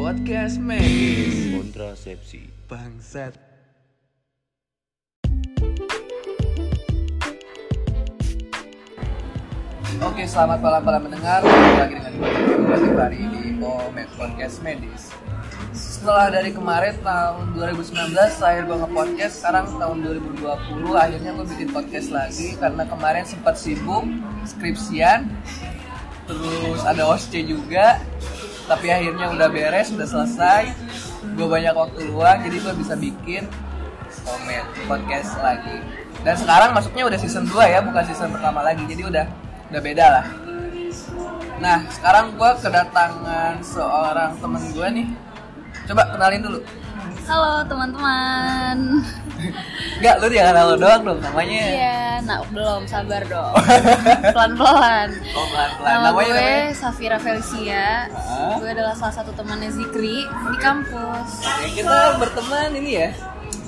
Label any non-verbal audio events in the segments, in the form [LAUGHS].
podcast medis kontrasepsi bangsat. Oke, selamat malam para mendengar. Kembali lagi dengan gue hari ini di Med Podcast Medis. Setelah dari kemarin tahun 2019 terakhir gue nge-podcast, sekarang tahun 2020 akhirnya gue bikin podcast lagi karena kemarin sempat sibuk skripsian, terus ada OSCE juga, tapi akhirnya udah beres, udah selesai. Gue banyak waktu luang, jadi gue bisa bikin Komet podcast lagi. Dan sekarang masuknya udah season 2 ya, bukan season pertama lagi, jadi udah udah beda lah. Nah, sekarang gue kedatangan seorang temen gue nih. Coba kenalin dulu. Halo teman-teman. Enggak, lu jangan halo doang dong namanya. Iya, nah belum sabar [LAUGHS] dong. Pelan-pelan. Oh, pelan-pelan. Nama Namanya gue namanya? Safira Felicia. Ah. Gue adalah salah satu temannya Zikri di kampus. Ya, kita berteman ini ya.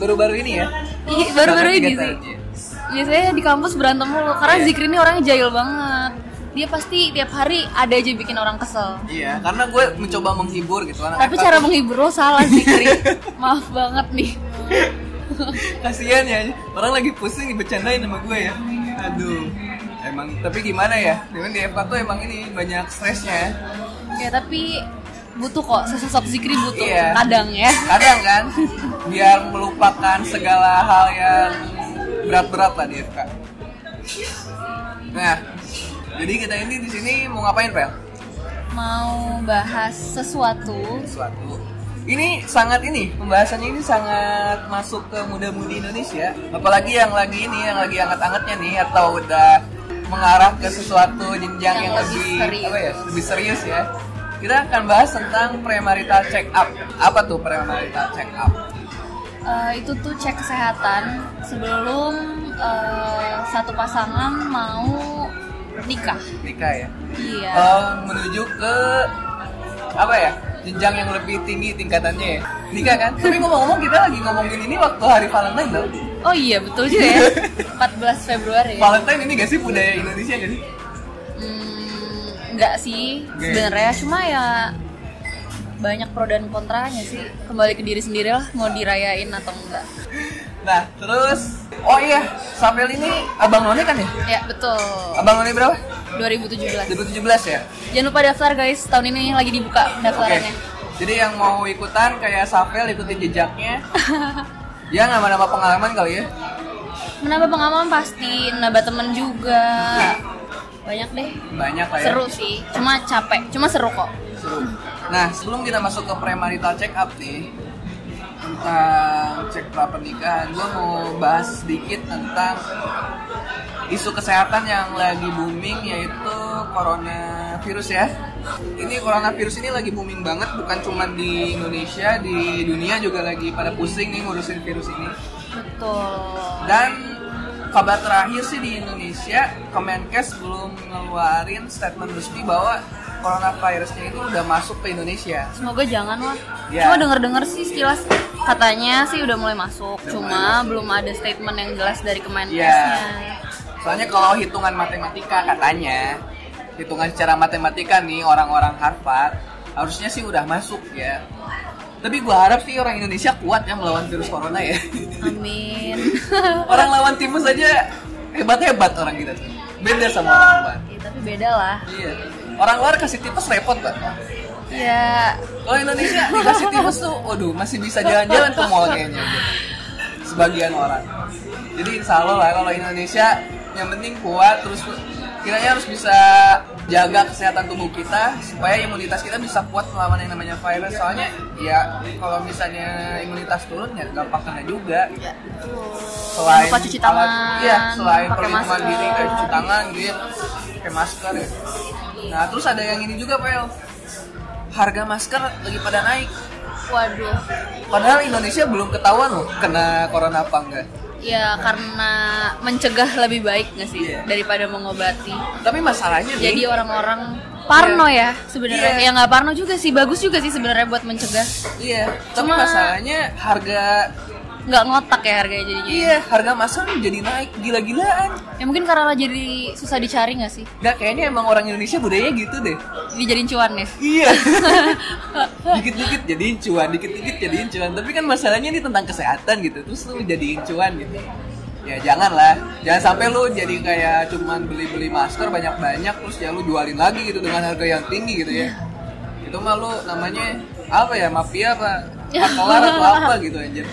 Baru-baru ini ya. Ih, Bahkan Baru-baru ini tiga sih. tahun, iya. Biasanya di kampus berantem mulu karena Iya. Zikri ini orangnya jahil banget. Dia pasti tiap hari ada aja bikin orang kesel. Iya, karena gue mencoba menghibur gitu kan. Tapi cara menghibur lo salah [LAUGHS] Zikri. Maaf banget nih. kasihan ya orang lagi pusing dibecandain sama gue ya aduh emang tapi gimana ya memang di FK tuh emang ini banyak stresnya ya Ya tapi butuh kok sesosok Zikri butuh Iya. kadang ya. kadang kan biar melupakan segala hal yang berat-berat lah di FK nah jadi kita ini di sini mau ngapain Pel? mau bahas sesuatu Suatu ini sangat ini pembahasannya ini sangat masuk ke muda-mudi Indonesia apalagi yang lagi ini yang lagi anget-angetnya nih atau udah mengarah ke sesuatu jenjang yang, Yang lebih lebih apa ya serius. lebih serius ya kita akan bahas tentang premarital check up apa tuh premarital check up Eh, itu tuh cek kesehatan sebelum eh, satu pasangan mau nikah nikah ya iya Eh, menuju ke apa ya jenjang yang lebih tinggi tingkatannya ya nikah [LAUGHS] kan tapi ngomong-ngomong kita lagi ngomongin ini waktu hari Valentine loh oh iya betul juga [LAUGHS] ya 14 Februari ya Valentine ini gak sih budaya Indonesia gak sih Hmm, enggak sih Oke. sebenarnya cuma ya banyak pro dan kontranya sih kembali ke diri sendiri lah mau dirayain atau enggak Nah, terus oh iya, Sapel ini abang none kan ya? ya betul Abang none berapa? 2017 2017 ya? jangan lupa daftar guys tahun ini lagi dibuka pendaftarannya Jadi yang mau ikutan kayak Sapel ikutin [LAUGHS] jejaknya. ya nambah-nambah pengalaman kali ya. menambah pengalaman pasti nambah temen juga banyak deh Banyak lah ya. seru sih cuma capek cuma seru kok Seru. Nah, sebelum kita masuk ke premarital check up nih tentang cek pra pernikahan, gue mau bahas sedikit tentang isu kesehatan yang lagi booming yaitu coronavirus ya. Ini coronavirus ini lagi booming banget bukan cuma di Indonesia, di dunia juga lagi pada pusing nih ngurusin virus ini. betul Dan kabar terakhir sih di Indonesia, Kemenkes belum ngeluarin statement resmi bahwa coronavirusnya itu udah masuk ke Indonesia. semoga jangan lah Ya. cuma denger dengar sih sekilas katanya sih udah mulai masuk Udah mulai cuma belum ada statement yang jelas dari kemenkesnya Ya. Soalnya kalau hitungan matematika katanya, hitungan secara matematika nih orang-orang Harvard harusnya sih udah masuk ya. Tapi gua harap sih orang Indonesia kuat ya melawan virus corona ya. [LAUGHS] amin [LAUGHS] orang lawan timus aja hebat-hebat orang kita tuh. Beda sama orang luar. Ya, tapi beda lah Iya. Orang luar kasih tipes repot kan. ya Kalau Oh, Indonesia dikasih tipes tuh, waduh masih bisa jalan-jalan ke mall kayaknya. gitu. Sebagian orang. Jadi insya Allah lah kalau Indonesia yang penting kuat terus kiranya harus bisa jaga kesehatan tubuh kita supaya imunitas kita bisa kuat melawan yang namanya virus soalnya ya kalau misalnya imunitas turun ya gampang kena juga selain Jangan lupa cuci alat- tangan, iya, selain pakai perlindungan masker. diri kayak cuci tangan gitu ya pakai masker ya nah terus ada yang ini juga Pel harga masker lagi pada naik waduh padahal Indonesia belum ketahuan loh kena corona apa enggak ya karena mencegah lebih baik nggak sih Iya. daripada mengobati tapi masalahnya nih, jadi orang-orang parno ya sebenarnya Iya. ya nggak parno juga sih bagus juga sih sebenarnya buat mencegah iya tapi Cuma- masalahnya harga nggak ngotak ya harganya jadinya. Iya, harga masker jadi naik gila-gilaan. Ya mungkin karena jadi susah dicari nggak sih? Nggak, kayaknya emang orang Indonesia budayanya gitu deh. Dijadiin cuan ya. Iya. dikit-dikit jadiin cuan, dikit-dikit jadiin cuan. Tapi kan masalahnya ini tentang kesehatan gitu. Terus lu jadiin cuan gitu. Ya jangan lah. Jangan sampai lu jadi kayak cuman beli-beli masker banyak-banyak terus ya lu jualin lagi gitu dengan harga yang tinggi gitu ya. Itu mah lu namanya apa ya? Mafia apa? Patelar atau apa gitu anjir.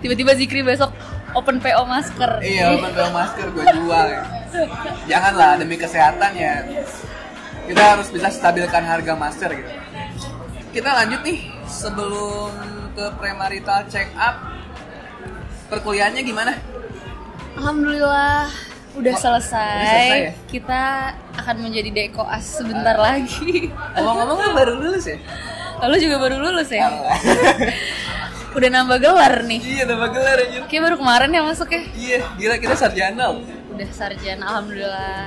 Tiba-tiba Zikri besok open PO masker. Eh, Iya, open bell masker gue jual. ya. Janganlah demi kesehatan ya. Kita harus bisa stabilkan harga masker gitu. Kita lanjut nih sebelum ke premarital check up. Perkuliahannya gimana? Alhamdulillah udah Wah, selesai. udah selesai ya? Kita akan menjadi dekoas sebentar lagi. [LAUGHS] Ngomong-ngomong lu baru lulus ya? Lalu juga baru lulus ya. Allah. Udah nambah gelar nih. iya, tambah gelar anjir. Kayak baru kemarin ya masuk ya. Iya, gila kita sarjana. loh. Udah sarjana alhamdulillah.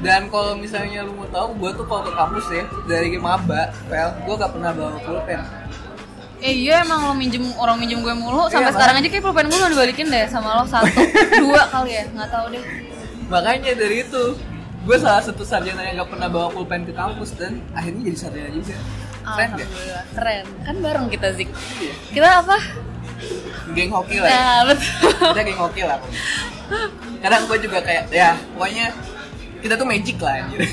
Dan kalau misalnya lu mau tahu, gue tuh kalau ke kampus ya dari maba, pel, gue gak pernah bawa pulpen. Eh iya emang lo minjem orang minjem gue mulu sampai Iya, sekarang aja kayak pulpen gue udah dibalikin deh sama lo [LAUGHS] satu dua kali ya nggak tahu deh Makanya dari itu gue salah satu sarjana yang gak pernah bawa pulpen ke kampus dan akhirnya jadi sarjana juga. Keren ya? gak? alhamdulillah keren kan bareng kita zik Iya. kita apa Geng hoki lah. Ya. nah betul [LAUGHS] Kita geng hoki lah. pokoknya. Kadang gue juga kayak ya pokoknya kita tuh magic lah anjir. [LAUGHS]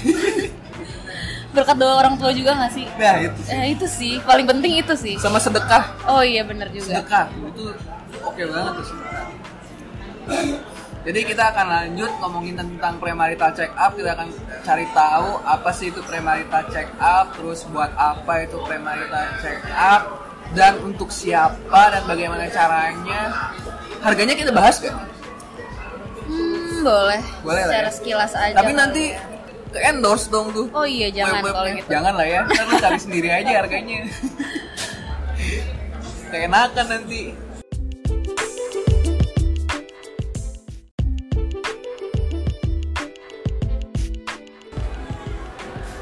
berkat doa orang tua juga nggak sih nah itu eh, itu sih paling penting itu sih sama sedekah oh iya bener juga sedekah itu oke banget tuh sedekah. Jadi kita akan lanjut ngomongin tentang premarital check up. Kita akan cari tahu apa sih itu premarital check up, terus buat apa itu premarital check up, dan untuk siapa dan bagaimana caranya. Harganya kita bahas kan? hmm boleh Boleh lah secara ya. sekilas aja Tapi nanti ke endorse dong tuh. oh iya jangan Web-webnya. kalau gitu Jangan lah ya, ntar lu cari sendiri aja harganya. Keenakan nanti.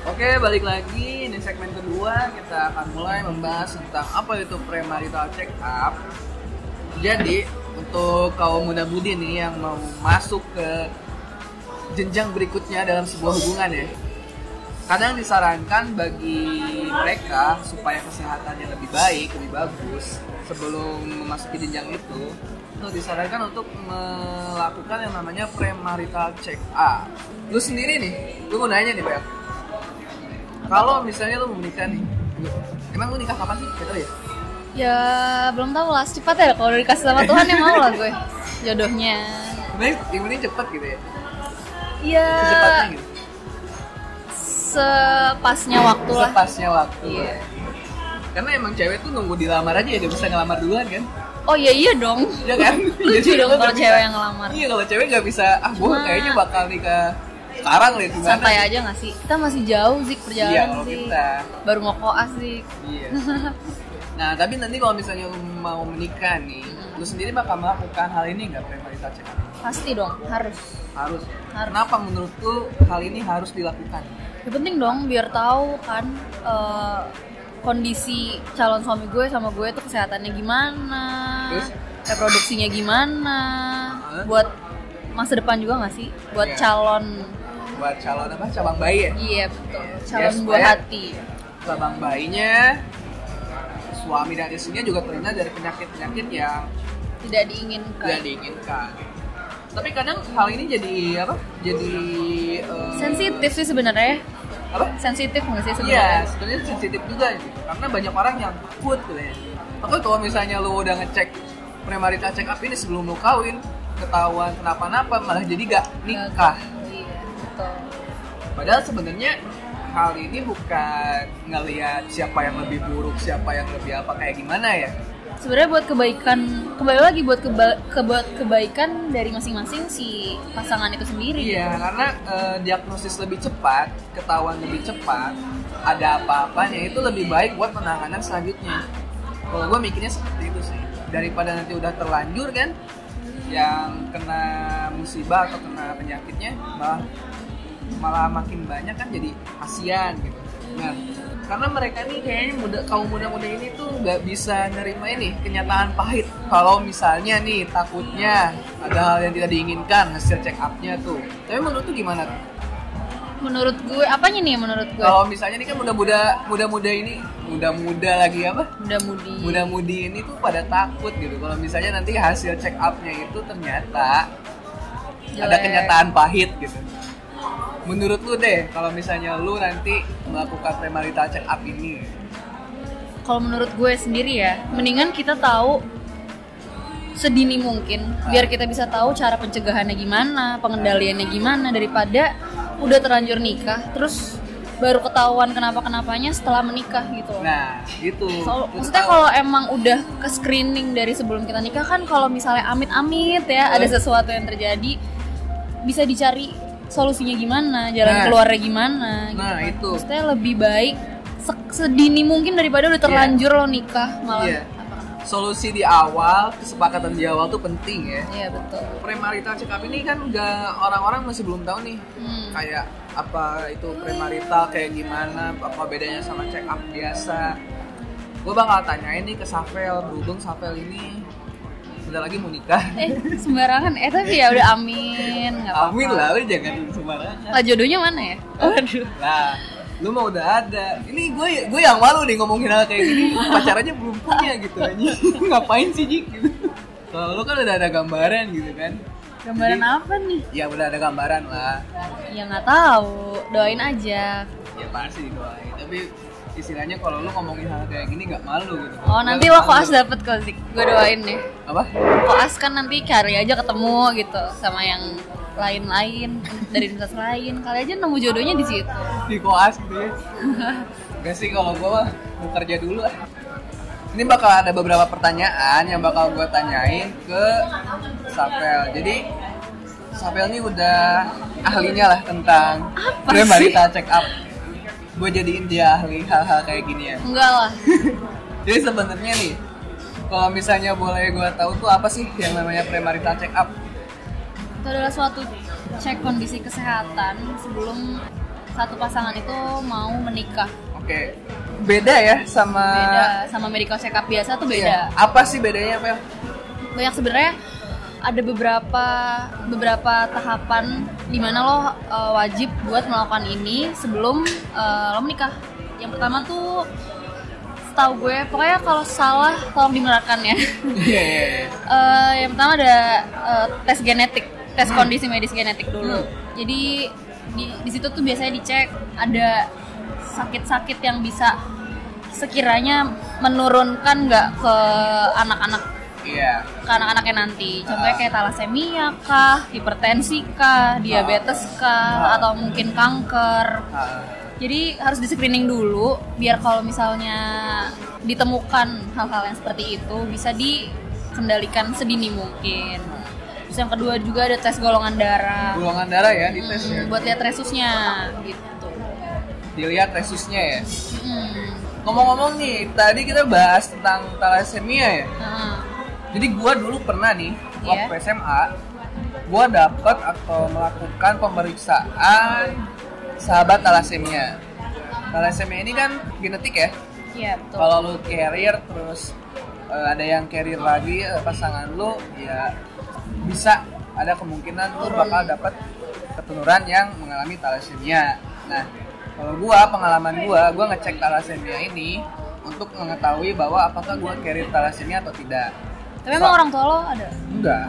Oke, balik lagi di segmen kedua kita akan mulai membahas tentang apa itu premarital check up. Jadi untuk kaum muda budi nih yang mau masuk ke jenjang berikutnya dalam sebuah hubungan ya kadang disarankan bagi mereka supaya kesehatannya lebih baik, lebih bagus sebelum memasuki jenjang itu itu disarankan untuk melakukan yang namanya premarital check up. Lu sendiri nih, lu mau nanya nih, Bel. Kalau misalnya lu mau menikah nih, emang lu nikah kapan sih? Gak tau ya? ya belum tahu lah cepat ya kalau udah dikasih sama Tuhan ya mau lah gue jodohnya Sebenarnya yang penting cepet gitu ya. ya Secepatnya gitu. sepasnya waktu lah Sepasnya waktu. Iya. Karena emang cewek tuh nunggu dilamar aja ya, dia bisa ngelamar duluan kan? oh iya iya dong Iya kan? [LAUGHS] lucu Jadi dong lu nggak kalau bisa. cewek yang ngelamar Iya kalau cewek nggak bisa, ah gue Nah. kayaknya bakal nikah sekarang deh gimana? santai aja nggak sih kita masih jauh sih Iya perjalanan kalau sih kita. baru mau koas sih [LAUGHS] Iya. Nah tapi nanti kalau misalnya lu mau menikah nih, lu sendiri bakal melakukan hal ini nggak premarital check up? pasti dong harus Harus. ya? Harus. Kenapa menurut lu hal ini harus dilakukan? ya penting dong biar tahu kan eh, kondisi calon suami gue sama gue tuh kesehatannya gimana Terus? reproduksinya gimana Hah? buat masa depan juga nggak sih buat Iya. calon Buat calon apa? Cabang bayi ya? iya betul Iya, calon buah supaya- hati Cabang bayinya, suami dan istrinya juga terhindar dari penyakit-penyakit yang tidak diinginkan tidak diinginkan. Tapi kadang hal ini jadi apa? Jadi eh, sensitif sih sebenarnya ya. Apa? sensitif nggak sih Iya, sebenarnya sebenarnya sensitif juga gitu. Karena banyak orang yang takut gitu ya. Takut kalau misalnya lu udah ngecek premarital check up ini sebelum lu kawin, ketahuan kenapa-napa malah jadi gak nikah. iya betul Padahal sebenarnya hal ini bukan ngelihat siapa yang lebih buruk, siapa yang lebih apa kayak gimana ya. sebenarnya buat kebaikan kembali lagi buat keba- ke- buat kebaikan dari masing-masing si pasangan itu sendiri Iya, karena eh, diagnosis lebih cepat, ketahuan lebih cepat, ada apa-apanya itu lebih baik buat penanganan selanjutnya. Kalau gue mikirnya seperti itu sih. Daripada nanti udah terlanjur kan, yang kena musibah atau kena penyakitnya malah malah makin banyak kan jadi kasihan gitu. Nah, karena mereka nih kayaknya muda kaum muda-muda ini tuh nggak bisa nerima ini kenyataan pahit kalau misalnya nih takutnya ada hal yang tidak diinginkan hasil check up-nya tuh tapi menurut tuh gimana tuh? Menurut gue, apanya nih menurut gue? kalau misalnya nih kan muda-muda muda-muda ini muda-muda lagi apa Muda-mudi. muda-mudi ini tuh pada takut gitu kalau misalnya nanti hasil check up-nya itu ternyata ada Jelek. kenyataan pahit gitu menurut lu deh kalau misalnya lu nanti melakukan premarital check up ini Kalau menurut gue sendiri ya, mendingan kita tahu sedini mungkin Ah. biar kita bisa tahu cara pencegahannya gimana, pengendaliannya gimana daripada udah terlanjur nikah terus baru ketahuan kenapa-kenapanya setelah menikah gitu. loh. nah itu Soal- Lu maksudnya tahu. kalau emang udah ke screening dari sebelum kita nikah kan kalau misalnya amit-amit ya Iya. ada sesuatu yang terjadi bisa dicari solusinya gimana, jalan Nah. keluarnya gimana gitu. nah kan. itu Maksudnya lebih baik se- sedini mungkin daripada udah terlanjur lo nikah malah. Iya. Iya, solusi di awal kesepakatan di awal tuh penting ya Iya, betul. premarital check up ini kan nggak orang-orang masih belum tahu nih Hmm. kayak apa itu premarital kayak gimana apa bedanya sama check up biasa gue bakal tanyain nih ke Safel berhubung Safel ini bentar lagi mau nikah Eh sembarangan. Eh tapi ya udah amin. Iya, nggak apa-apa. amin lah lu jangan sembarangan Lah jodohnya mana ya? Waduh. lah lu mah udah ada ini gue gue yang malu nih ngomongin hal kayak gini pacarannya belum punya gitu anjing [LAUGHS] ngapain sih Jik gitu kalau lu kan udah ada gambaran gitu kan Gambaran Jadi, apa nih? ya udah ada gambaran lah Ya nggak tahu. Doain aja. ya pasti didoain tapi istilahnya kalau lu ngomongin hal kayak gini nggak malu gitu Oh Gua nanti lo malu. koas dapet kok Zik. Gue doain deh. apa koas kan nanti cari aja ketemu gitu sama yang lain-lain dari universitas lain kali aja nemu jodohnya di situ di koas gitu [LAUGHS] ya gak sih kalau gua mah mau kerja dulu ah ini bakal ada beberapa pertanyaan yang bakal gua tanyain ke Safel jadi Safel ini udah ahlinya lah tentang Apa premarital check up gue jadiin dia ahli hal-hal kayak gini ya enggak lah Jadi sebenarnya nih, kalau misalnya boleh gue tahu tuh apa sih yang namanya premarital check up? itu adalah suatu cek kondisi kesehatan sebelum satu pasangan itu mau menikah Oke, beda ya sama beda sama medical check up biasa tuh Iya. beda Apa sih bedanya, Pel? banyak sebenarnya ada beberapa beberapa tahapan di mana lo uh, wajib buat melakukan ini sebelum uh, lo menikah. Yang pertama tuh setahu gue pokoknya kalau salah tolong dinerangkan ya. [LAUGHS] Iya, iya, iya. Eh, yang pertama ada eh, tes genetik, tes kondisi medis genetik dulu. Jadi di, di situ tuh biasanya dicek ada sakit-sakit yang bisa sekiranya menurunkan nggak ke anak-anak Iya. ke anak-anaknya nanti. Contohnya kayak talasemia kah, hipertensi kah, diabetes kah, atau mungkin kanker. Ah, Jadi harus di screening dulu biar kalau misalnya ditemukan hal-hal yang seperti itu bisa dikendalikan sedini mungkin. Terus yang kedua juga ada tes golongan darah. golongan darah ya di tes ya. Hmm, buat lihat resusnya gitu. Dilihat resusnya ya. Hmm. Ngomong-ngomong nih, tadi kita bahas tentang thalassemia ya. Heeh. Jadi gua dulu pernah nih Iya. waktu SMA gua dapat atau melakukan pemeriksaan sahabat talasemia. Talasemia ini kan genetik ya. Iya betul. Kalau lu carrier terus eh, ada yang carrier lagi eh, pasangan lu ya bisa ada kemungkinan lu bakal dapat keturunan yang mengalami talasemia. Nah, kalau gua pengalaman gua, gua ngecek talasemia ini untuk mengetahui bahwa apakah gua carrier talasemia atau tidak. Tapi emang orang tua lo ada. Enggak.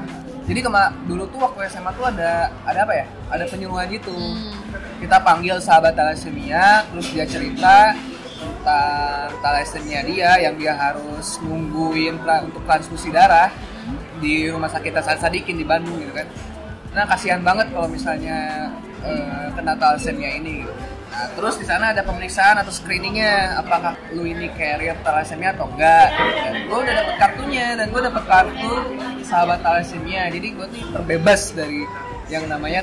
Jadi kema dulu tuh waktu SMA tuh ada ada apa ya? Ada penyuluhan gitu. Hmm. Kita panggil sahabat talasemia, terus dia cerita tentang talasemia dia yang dia harus nungguin tra- untuk transfusi darah di rumah sakit Hasan Sadikin di Bandung gitu kan. Nah, kasihan banget kalau misalnya eh, kena talasemia ini gitu. Nah, terus di sana ada pemeriksaan atau screeningnya apakah lu ini carrier talasemia atau enggak. Dan gue udah dapet kartunya dan gue dapet kartu sahabat talasemia. Jadi gue tuh terbebas dari yang namanya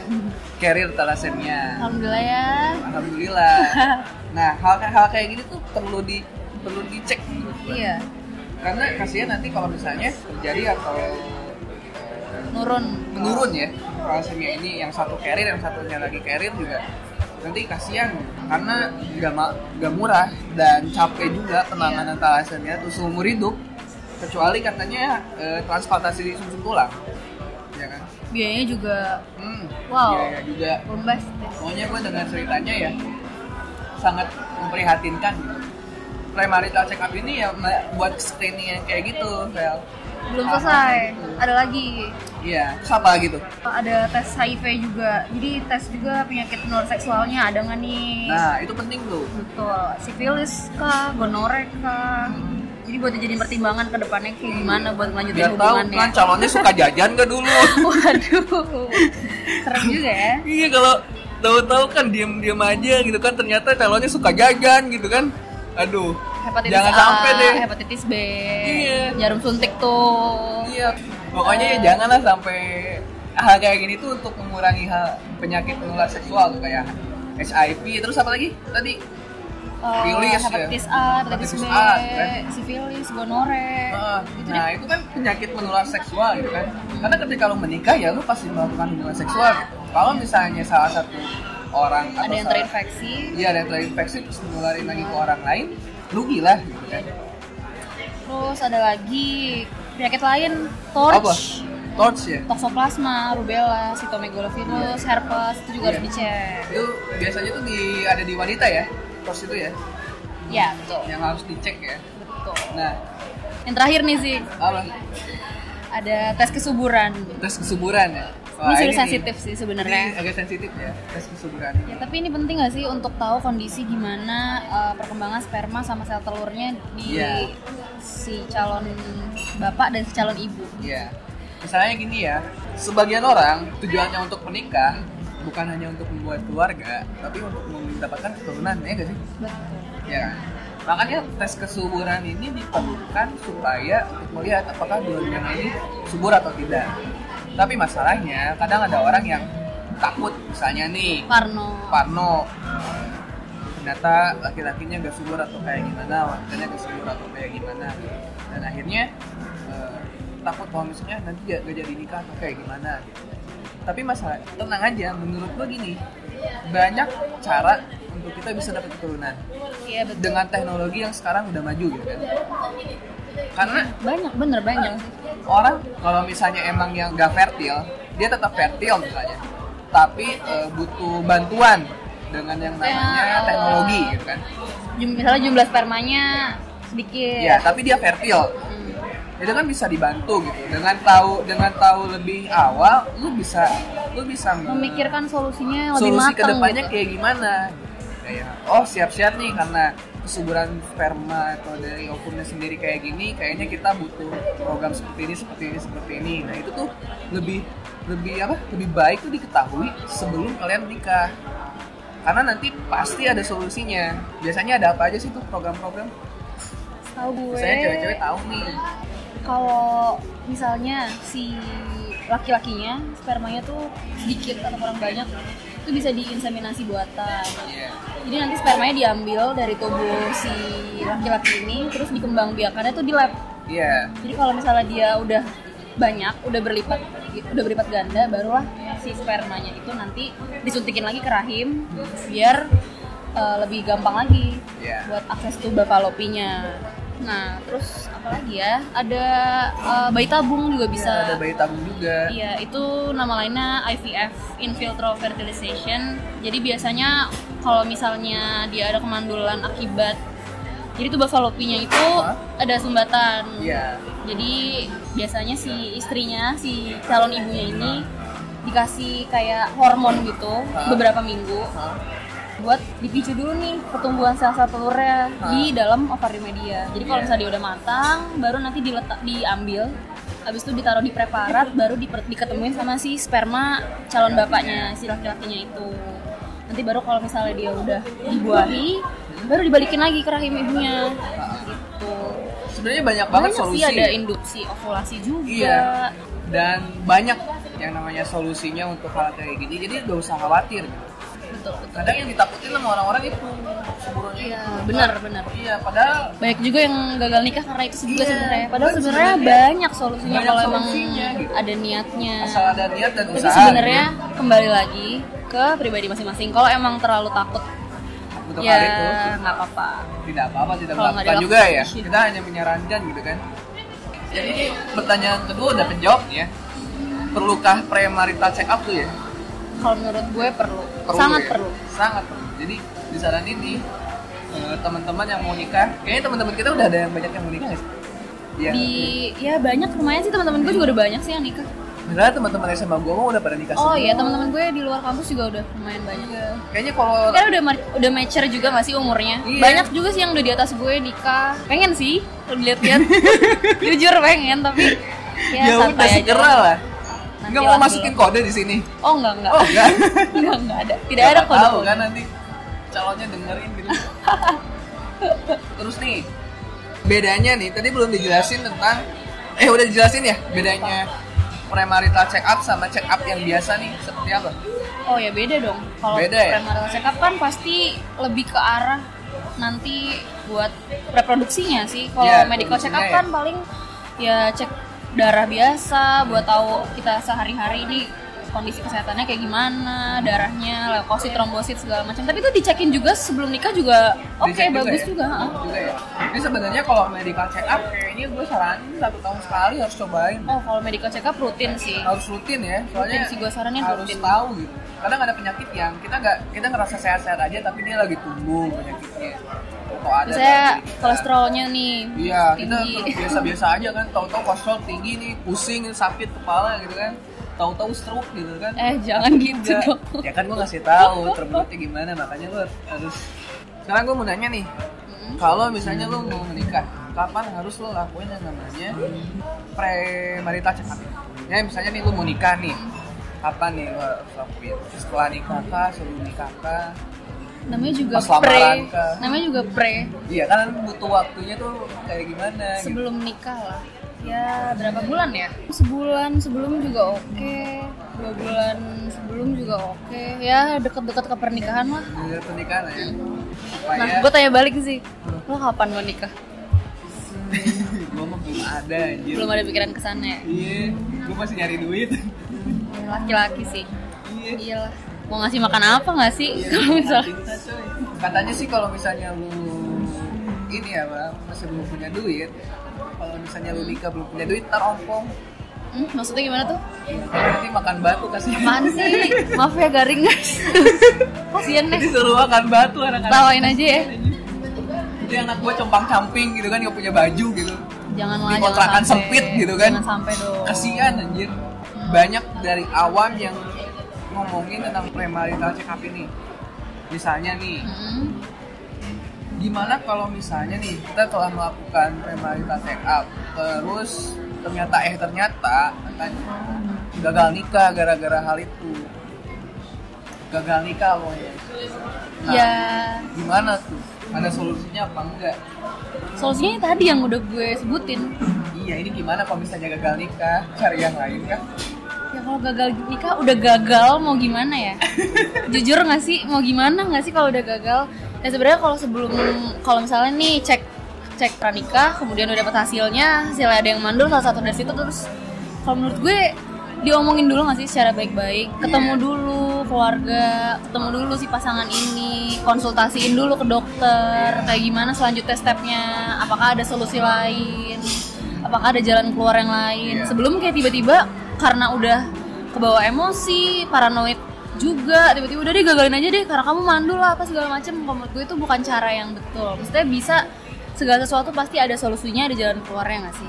carrier talasemia. Alhamdulillah ya. [LAUGHS] Alhamdulillah. Nah, hal-hal kayak gini tuh perlu di perlu dicek menurut gua. Iya. Karena kasihan nanti kalau misalnya terjadi atau Nurun. menurun ya thalassemia ini yang satu carrier yang satunya lagi carrier juga nanti kasihan karena gak, ma- gak murah dan capek juga penanganan Iya. talasemia tuh seumur hidup kecuali katanya eh, transplantasi di sumsum tulang ya kan biayanya juga hmm, Wow. biaya juga bombastis Pokoknya gue dengar ceritanya ya sangat memprihatinkan gitu. Premarital check up ini ya me- buat screening yang kayak gitu, Vel. belum selesai ada lagi Iya, terus apa lagi tuh? ada tes HIV juga jadi tes juga penyakit menular seksualnya ada nggak nih Nah, itu penting tuh. betul sifilis kah gonore kah jadi buat dijadiin pertimbangan ke depannya kayak gimana buat Biar melanjutkan tahu hubungannya kan calonnya suka jajan gak dulu. [LAUGHS] waduh serem juga ya iya, kalau tahu-tahu kan diem-diem aja gitu kan ternyata calonnya suka jajan gitu kan. Aduh. hepatitis jangan A, sampai deh. hepatitis B Iya. jarum suntik tuh Iya, pokoknya ya janganlah sampai hal kayak gini tuh untuk mengurangi hal penyakit menular seksual tuh kayak HIV terus apa lagi tadi Eh, Sifilis ya. hepatitis A, hepatitis, Hepatitis B, A, kan? sifilis, gonore. Heeh. gitu nah deh. itu kan penyakit menular seksual gitu kan karena ketika lo menikah ya lo pasti melakukan hubungan seksual gitu kalau misalnya salah satu orang atau Ada yang salah- terinfeksi. iya ada yang terinfeksi terus menularin lagi ke orang lain rugi lah gitu kan Terus ada lagi penyakit lain, apa torch, torch ya toxoplasma, rubella, cytomegalovirus, herpes itu juga harus Iya. dicek. itu biasanya tuh di ada di wanita ya torch itu ya Ya, betul. yang harus dicek ya Betul. nah Yang terakhir nih sih, apa ada tes kesuburan. tes kesuburan ya Ini sudah nih. sensitif sih ini sebenarnya. agak sensitif ya tes kesuburan Ya, tapi ini penting gak sih untuk tahu kondisi gimana uh, perkembangan sperma sama sel telurnya di Iya. si calon bapak dan si calon ibu. Iya. Misalnya gini ya, sebagian orang tujuannya untuk menikah bukan hanya untuk membuat keluarga, tapi untuk mendapatkan keturunan, ya nggak sih? Betul. Ya. kan? Makanya tes kesuburan ini diperlukan supaya untuk melihat apakah dua-duanya ini subur atau tidak. Tapi masalahnya kadang ada orang yang takut, misalnya nih, Parno. Parno ternyata laki-lakinya gak subur atau kayak gimana wanitanya gak subur atau kayak gimana dan akhirnya eh, takut kalau misalnya nanti gak, gak jadi nikah atau kayak gimana gitu. tapi masalah tenang aja menurut gue gini banyak cara untuk kita bisa dapat keturunan Iya betul. dengan teknologi yang sekarang udah maju gitu kan karena Banyak bener banyak sih. orang kalau misalnya emang yang gak fertil dia tetap fertil misalnya tapi eh, butuh bantuan dengan yang namanya Ya. teknologi gitu kan Jum- misalnya jumlah spermanya sedikit. ya tapi dia fertil Hmm. itu kan bisa dibantu gitu dengan tahu dengan tahu lebih awal lu bisa lu bisa nge- Memikirkan solusinya yang lebih solusi matang kedepannya gitu. kayak gimana kayak oh siap-siap nih karena kesuburan sperma atau dari ovumnya sendiri kayak gini kayaknya kita butuh program seperti ini seperti ini seperti ini nah itu tuh lebih lebih apa lebih baik tuh diketahui sebelum kalian menikah karena nanti pasti ada solusinya biasanya ada apa aja sih tuh program-program Tahu gue. biasanya cewek-cewek tahu nih Kalau misalnya si laki-lakinya spermanya tuh sedikit atau kurang banyak itu bisa diinseminasi buatan. Iya. Jadi nanti spermanya diambil dari tubuh si laki-laki ini terus dikembangbiakannya tuh di lab. iya Jadi kalau misalnya dia udah banyak, udah berlipat, udah berlipat ganda, barulah si spermanya itu nanti disuntikin lagi ke rahim biar uh, lebih gampang lagi Iya. buat akses tuba falopinya. Nah, terus apa lagi ya? Ada uh, bayi tabung juga bisa. Iya, ada bayi tabung juga Iya, itu nama lainnya IVF, in vitro fertilization. Jadi biasanya kalau misalnya dia ada kemandulan akibat jadi tuba falopinya itu Hah? ada sumbatan. iya Jadi biasanya si istrinya, si calon ibunya ini dikasih kayak hormon gitu Hah? beberapa minggu Hah? buat dipicu dulu nih pertumbuhan sel-sel telurnya Hah? di dalam ovarium dia. Jadi Iya. kalau misalnya dia udah matang, baru nanti diletak diambil, habis itu ditaruh di preparat, baru diper- diketemuin sama si sperma calon bapaknya si laki-lakinya itu. Nanti baru kalau misalnya dia udah dibuahi, baru dibalikin lagi ke rahim ibunya. Gitu sebenarnya banyak banget solusi ya? sih ada induksi ovulasi juga Iya. Dan banyak yang namanya solusinya untuk hal kayak gini. Jadi gak usah khawatir. gitu. betul betul Kadang yang ditakutin sama orang-orang itu seburunya. iya benar benar Iya, padahal banyak juga yang gagal nikah karena itu juga Iya, sebenarnya padahal benar, sebenarnya sebenarnya. banyak solusinya Banyak kalau emang solusinya, gitu. ada niatnya asal ada niat dan tapi usaha. gitu ya. sebenarnya kembali lagi ke pribadi masing-masing. Kalau emang terlalu takut, Untuk ya hari itu nggak apa-apa. tidak apa-apa tidak Kalau nggak melakukan dilakukan, juga ya. iya. Kita hanya menyarankan gitu kan. Jadi ini pertanyaan kedua udah penjawab nih ya. Perlukah premarital check up tuh ya? Kalau menurut gue perlu, Perlu sangat ya? perlu. Sangat perlu. Jadi disaranin nih eh, teman-teman yang mau nikah, kayaknya teman-teman kita udah ada yang banyak yang mau nikah nggak sih? Iya. Di ya banyak lumayan sih teman-teman gue juga udah banyak sih yang nikah. Beneran teman-teman SMA gue mau udah pada nikah Oh semua. iya teman-teman gue di luar kampus juga udah lumayan banyak. Kayaknya kalau Karena Kan udah mar- udah mature juga masih umurnya. Iya. Banyak juga sih yang udah di atas gue nikah. Pengen sih kalau dilihat-lihat. [LAUGHS] Jujur pengen tapi ya, ya, udah santai aja. segera lah. Nanti Nggak mau lah masukin kode di [LAUGHS] sini. Oh enggak enggak. Oh enggak. enggak enggak ada. Tidak ada Siapa kode. tahu kan nanti calonnya dengerin [LAUGHS] gitu. Terus nih bedanya nih tadi belum dijelasin tentang eh udah dijelasin ya bedanya premarital check up sama check up yang biasa nih seperti apa? Oh ya beda dong. Kalau Beda ya? premarital check up kan pasti lebih ke arah nanti buat reproduksinya sih. Kalau Iya, medical check up reproduksinya kan paling ya cek darah biasa buat tahu kita sehari-hari ini kondisi kesehatannya kayak gimana, darahnya, leukosit, trombosit segala macam. Tapi itu dicekin juga sebelum nikah juga oke Dicek ya? bagus juga. ha. Bagus juga ya. Ini sebenarnya kalau medical check up kayaknya gue saranin satu tahun sekali harus cobain. Oh kalau medical check up rutin sih. harus rutin ya soalnya Rutin sih, gua saranin harus rutin. tahu gitu kadang ada penyakit yang kita nggak kita ngerasa sehat-sehat aja tapi dia lagi tumbuh penyakitnya atau ada Misalnya lagi kita- kolesterolnya nih iya kita tinggi. biasa-biasa aja kan tahu-tahu kolesterol tinggi nih pusing sakit kepala gitu kan tahu-tahu stroke gitu kan Eh jangan gitu Enggak. dong. ya kan gue ngasih [LAUGHS] tahu terbentuknya gimana makanya lu harus sekarang gue mau nanya nih Hmm. kalau misalnya lu mau menikah kapan harus lo lakuin yang namanya premarital check up ya misalnya nih lu mau nikah nih kapan nih lo harus lakuin setelah nikah kah sebelum nikah kah namanya juga Pas lamaran pre ke- namanya juga pre iya kan butuh waktunya tuh kayak gimana gitu sebelum nikah lah ya berapa bulan ya sebulan sebelum juga oke dua bulan sebelum juga oke ya deket-deket ke pernikahan lah Dari pernikahan ya nah supaya [LAUGHS] gue tanya balik sih lo kapan mau nikah gue mah belum ada anjir belum ada pikiran kesana ya iya gue masih nyari duit [LAUGHS] laki-laki sih iya Nah, iyalah mau ngasih makan apa nggak sih Iya. kalau misalnya Cinta, coy. Katanya sih kalau misalnya lu ini ya bang masih belum punya duit, kalau misalnya lu nikah belum punya duit ntar ompong, hmm, maksudnya gimana tuh nanti makan batu kasih. apaan sih maaf ya [LAUGHS] garing guys kasian deh [LAUGHS] Disuruh makan batu anak-anak. tawain aja ya Jadi anak gua compang camping gitu kan nggak punya baju gitu. janganlah Di jangan kontrakan sampai- sempit gitu kan. jangan sampai dong Kasihan anjir. Banyak dari awam yang ngomongin tentang premarital check up ini. Misalnya nih, Hmm. gimana kalau misalnya nih kita telah melakukan premarital check up terus ternyata eh ternyata katanya gagal nikah gara-gara hal itu gagal nikah loh ya Nah, ya gimana tuh ada solusinya apa enggak solusinya yang tadi yang udah gue sebutin iya ini gimana kalau misalnya gagal nikah cari yang lain kan ya kalau gagal nikah udah gagal mau gimana [LAUGHS] ya jujur nggak sih mau gimana nggak sih kalau udah gagal dan sebenarnya kalau sebelum kalau misalnya nih cek cek pranikah kemudian udah dapet hasilnya hasilnya ada yang mandul salah satu dari situ terus kalau menurut gue diomongin dulu nggak sih secara baik-baik ketemu Iya. dulu keluarga ketemu dulu si pasangan ini konsultasiin dulu ke Iya. dokter kayak gimana selanjutnya stepnya apakah ada solusi lain apakah ada jalan keluar yang Iya. lain sebelum kayak tiba-tiba karena udah kebawa emosi paranoid juga tiba-tiba udah deh gagalin aja deh karena kamu mandul lah apa segala macem Kalau menurut gue itu bukan cara yang betul maksudnya bisa segala sesuatu pasti ada solusinya ada jalan keluarnya nggak sih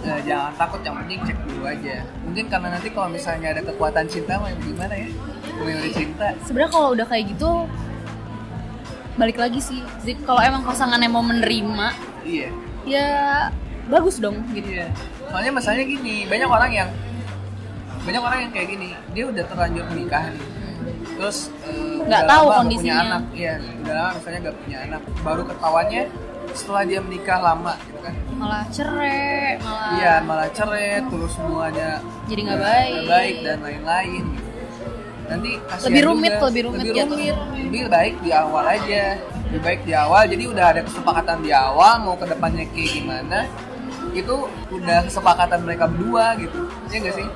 Nah, jangan takut yang penting cek dulu aja mungkin karena nanti kalau misalnya ada kekuatan cinta mau gimana ya memilih cinta sebenarnya kalau udah kayak gitu balik lagi sih Jadi kalau emang pasangannya mau menerima iya ya bagus dong gitu Iya. Soalnya masalahnya gini, banyak orang yang banyak orang yang kayak gini, dia udah terlanjur menikah nih. Terus eh, Nggak udah tahu lama nggak kondisinya. Punya anak, iya, udah lama misalnya nggak punya anak. Baru ketahuannya setelah dia menikah lama gitu kan. malah cerai malah Iya, malah cerai, terus semuanya Jadi nggak nggak baik. baik dan lain-lain gitu. Nanti kasihan Lebih rumit, juga. lebih rumit lebih, gitu. rumit. lebih baik di awal aja. Lebih baik di awal, jadi udah ada kesepakatan di awal mau ke depannya kayak gimana. Itu udah kesepakatan mereka berdua gitu. Iya nggak sih?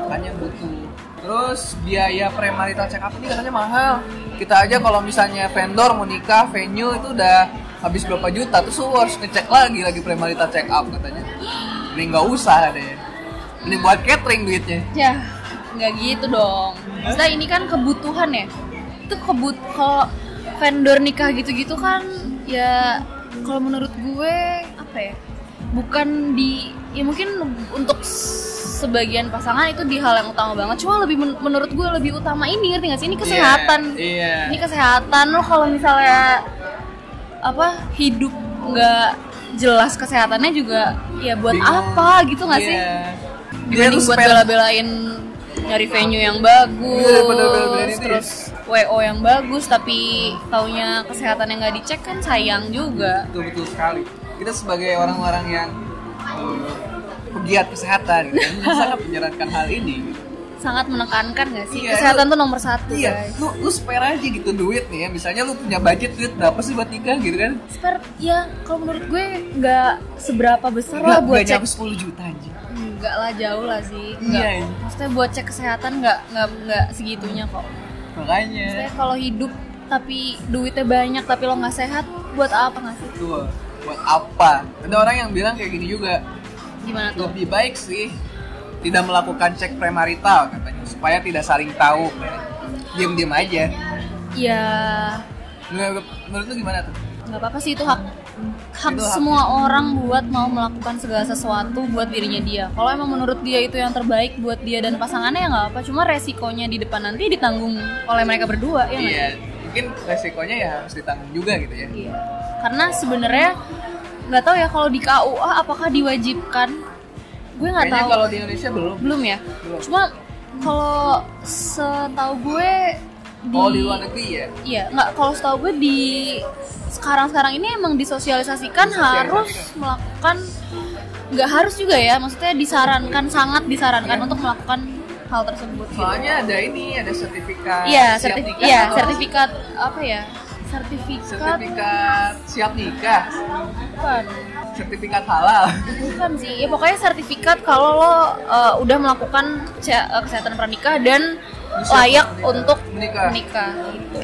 Makanya butuh Terus biaya premarital check up ini katanya mahal. Kita aja kalau misalnya vendor mau nikah, venue itu udah habis berapa juta terus lu harus ngecek lagi lagi premarital check up katanya. Mending nggak usah deh. Mending buat catering duitnya. Ya, nggak gitu dong. Maksudnya ini kan kebutuhan ya. Itu kebut kalau vendor nikah gitu-gitu kan ya kalau menurut gue apa ya? Bukan di ya mungkin untuk sebagian pasangan itu di hal yang utama banget. Cuma lebih men- menurut gue lebih utama ini ngerti nggak sih? Ini kesehatan. Iya. Ini kesehatan lo kalau misalnya apa hidup nggak jelas kesehatannya juga ya buat Bingung. apa gitu nggak sih? Iya. Dia dibanding tuh buat spend- bela-belain nyari venue yang bagus Iya, daripada bela-belain itu ya. terus wo yang bagus tapi taunya kesehatan yang nggak dicek kan sayang juga Betul betul sekali. Kita sebagai orang-orang yang eh, pegiat kesehatan, [LAUGHS] gitu, sangat menyarankan hal ini. sangat menekankan nggak sih Iya, kesehatan tuh nomor satu Iya, guys lu lu spare aja gitu duit nih ya. Misalnya lu punya budget duit berapa sih buat nikah gitu kan? Spare, ya kalau menurut gue nggak seberapa besar lah Nggak- buat nggak cek nyampe 10 juta aja. nggak lah jauh lah sih Iya. nggak maksudnya buat cek kesehatan nggak nggak nggak segitunya kok Makanya. maksudnya kalau hidup tapi duitnya banyak tapi lo nggak sehat buat apa nggak sih Tuh, buat apa? Ada orang yang bilang kayak gini juga. gimana tuh Lebih baik sih tidak melakukan cek premarital katanya supaya tidak saling tahu. Diam-diam aja. Iya. ya Menurut, menurut lu gimana tuh? nggak apa-apa sih itu hak hak Itu hak. semua orang buat mau melakukan segala sesuatu buat dirinya dia kalau emang menurut dia itu yang terbaik buat dia dan pasangannya ya nggak apa cuma resikonya di depan nanti ditanggung oleh mereka berdua ya nggak? Iya, mungkin resikonya ya harus ditanggung juga gitu ya. Iya. karena sebenarnya nggak tahu ya kalau di KUA apakah diwajibkan gue nggak Kayaknya tahu kalau di Indonesia belum. belum ya Belum. cuma kalau setahu gue di, Oh, di luar negeri ya. Iya, nggak kalau setahu gue di sekarang-sekarang ini emang disosialisasikan Disosialisasikan. harus melakukan nggak harus juga ya, maksudnya disarankan sangat disarankan untuk melakukan hal tersebut. gitu. Iya. Soalnya ada ini, ada sertifikat. Iya, siap sertif- nikah iya, atau- sertifikat apa ya? Sertifikat sertifikat siap nikah, bukan. sertifikat halal. Bukan sih, ya pokoknya sertifikat kalau lo uh, udah melakukan ce- uh, kesehatan pranikah dan [LAUGHS] layak Menikah. untuk Menikah. menikah gitu.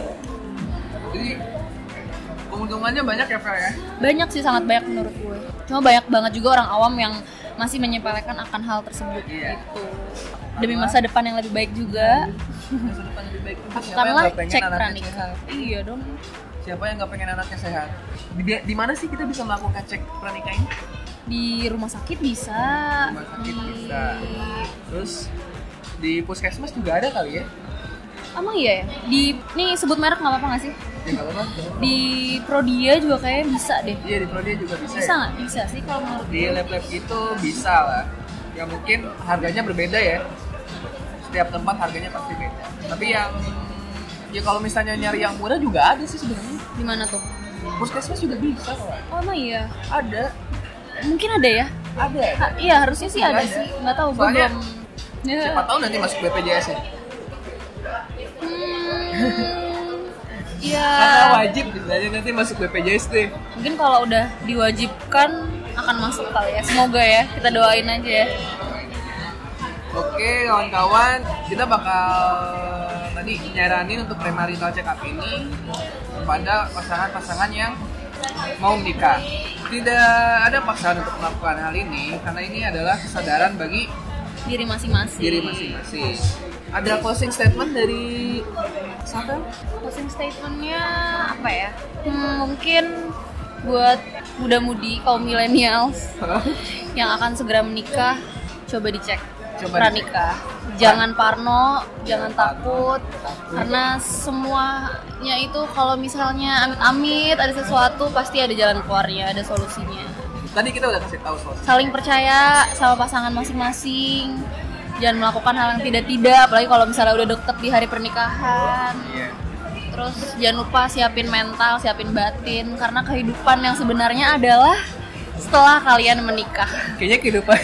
Jadi keuntungannya banyak ya, Fer ya. banyak sih sangat banyak menurut gue cuma banyak banget juga orang awam yang masih menyepelekan akan hal tersebut Iya. gitu demi masa depan yang lebih baik juga Masa depan lebih baik. Siapa yang karena nggak pengen cek anaknya pranikah sehat? iya dong Siapa yang nggak pengen anaknya sehat? Di, di mana sih kita bisa melakukan cek pranikah ini? di rumah sakit bisa Rumah sakit di- bisa. Terus di puskesmas juga ada kali ya? emang iya ya di nih sebut merek nggak apa-apa nggak sih Ya nggak apa-apa. di Prodia juga kayaknya bisa deh Iya di Prodi juga bisa. bisa ya? nggak bisa sih kalau menurut Di lab-lab itu bisa lah. Ya mungkin harganya berbeda ya. Setiap tempat harganya pasti beda. Tapi yang ya kalau misalnya nyari yang murah juga ada sih sebenarnya. gimana tuh Puskesmas juga bisa kok. oh emang iya Ada, mungkin ada ya ada. ada. Ha- iya harusnya sih ada, Ada. sih nggak tahu gue Soalnya- belum Ya. Siapa tahu nanti masuk BPJS ya. Hmm, Karena ya wajib misalnya nanti masuk BPJS deh. mungkin kalau udah diwajibkan akan masuk kali ya semoga ya kita doain aja ya Oke kawan-kawan, kita bakal tadi nyaranin untuk premarital check up ini kepada pasangan-pasangan yang mau menikah. Tidak ada paksaan untuk melakukan hal ini karena ini adalah kesadaran bagi diri masing-masing diri masing-masing. Ada closing statement dari siapa? closing statementnya apa ya Hmm, mungkin buat muda-mudi kaum millennials yang akan segera menikah coba dicek Coba pranikah jangan parno jangan takut karena semuanya itu kalau misalnya amit-amit ada sesuatu pasti ada jalan keluarnya ada solusinya [LAUGHS] Tadi kita udah kasih tahu soal saling percaya sama pasangan masing-masing jangan melakukan hal yang tidak-tidak apalagi kalau misalnya udah deket di hari pernikahan Iya. terus jangan lupa siapin mental siapin batin karena kehidupan yang sebenarnya adalah [LAUGHS] setelah kalian menikah Kayaknya kehidupan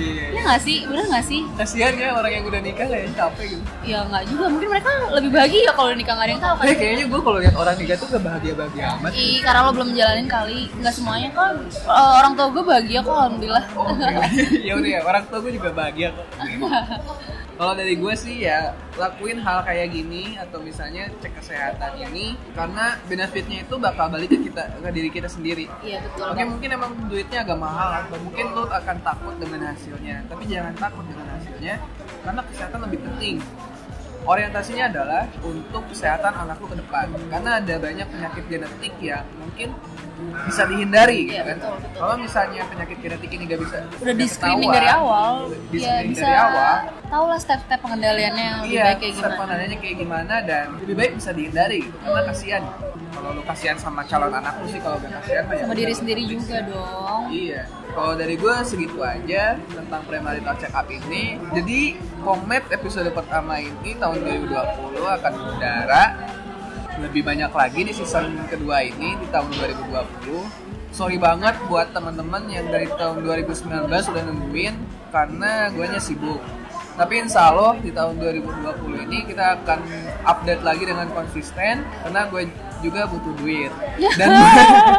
Ya nggak sih, bener nggak sih? Iya. Kasihan ya orang yang udah nikah kayak capek gitu. Ya nggak juga, mungkin mereka lebih bahagia kalau nikah nggak ada yang tahu kan? Kayak kayaknya gue kalau lihat orang nikah tuh gak bahagia bahagia amat. Ih, karena lo belum jalanin kali, nggak semuanya kan. Eh, orang tua gue bahagia kok, alhamdulillah. [LAUGHS] Oh, [LAUGHS] ya udah ya orang tua gue juga bahagia kok. Kalau dari gue sih ya lakuin hal kayak gini atau misalnya cek kesehatan ini karena benefitnya itu bakal balik ke kita ke diri kita sendiri. Iya betul. Oke Bang. mungkin emang duitnya agak mahal atau mungkin lo akan takut dengan hasilnya tapi jangan takut dengan hasilnya karena kesehatan lebih penting orientasinya adalah untuk kesehatan anak lo ke depan karena ada banyak penyakit genetik yang mungkin bisa dihindari gitu Iya, kan betul, betul. kalau misalnya penyakit genetik ini gak bisa Udah nggak di screening ketahuan, dari awal, di ya screening bisa dari awal tau lah step-step pengendaliannya yang lebih iya baik kayak step gimana. penanganannya kayak gimana dan lebih baik bisa dihindari gitu. karena kasihan kalau lo kasihan sama calon anak lo sih kalau gak kasihan mah ya Sama diri udah. sendiri juga dong. [LAUGHS] Iya. Kalau dari gue segitu aja tentang premarital check up ini. Jadi Komet episode pertama ini tahun 2020 akan mengudara lebih banyak lagi di season kedua ini di tahun 2020. Sorry banget buat teman-teman yang dari tahun 2019 udah nungguin karena guanya sibuk. Tapi insya Allah di tahun 2020 ini kita akan update lagi dengan konsisten karena gue juga butuh duit. Dan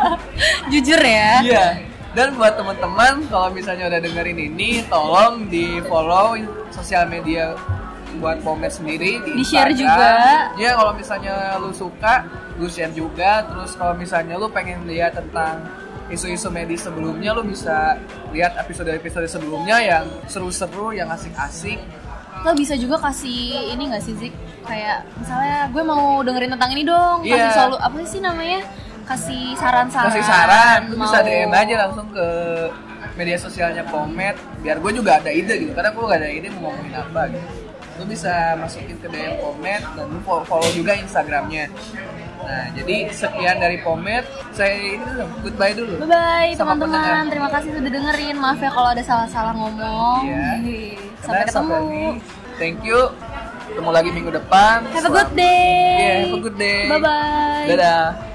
[LAUGHS] Jujur ya. Iya. Dan buat teman-teman kalau misalnya udah dengerin ini, tolong di follow sosial media buat Pomet sendiri di, Di-share Instagram. juga. Iya, kalau misalnya lu suka, lu share juga. Terus kalau misalnya lu pengen lihat tentang isu-isu medis sebelumnya, lu bisa lihat episode-episode sebelumnya yang seru-seru, yang asik-asik. Lo bisa juga kasih ini gak sih Zik? Kayak misalnya gue mau dengerin tentang ini dong. Kasih Iya. solu- apa sih namanya? Kasih saran-saran. Kasih saran, lu bisa mau- DM aja langsung ke media sosialnya Pomet biar gue juga ada ide gitu karena gue gak ada ide mau ngomongin apa gitu lu bisa masukin ke DM Pomet dan lu fo- follow juga Instagramnya nah jadi sekian dari Pomet saya ini dulu goodbye dulu Bye bye Sama pendengar. teman-teman. Terima kasih sudah dengerin. Maaf ya kalau ada salah-salah ngomong. Iya. Hei, Karena Sampai ketemu. ini, thank you ketemu lagi minggu depan Have a good Selam- day. Yeah, have Iya, a good day. Bye bye. dadah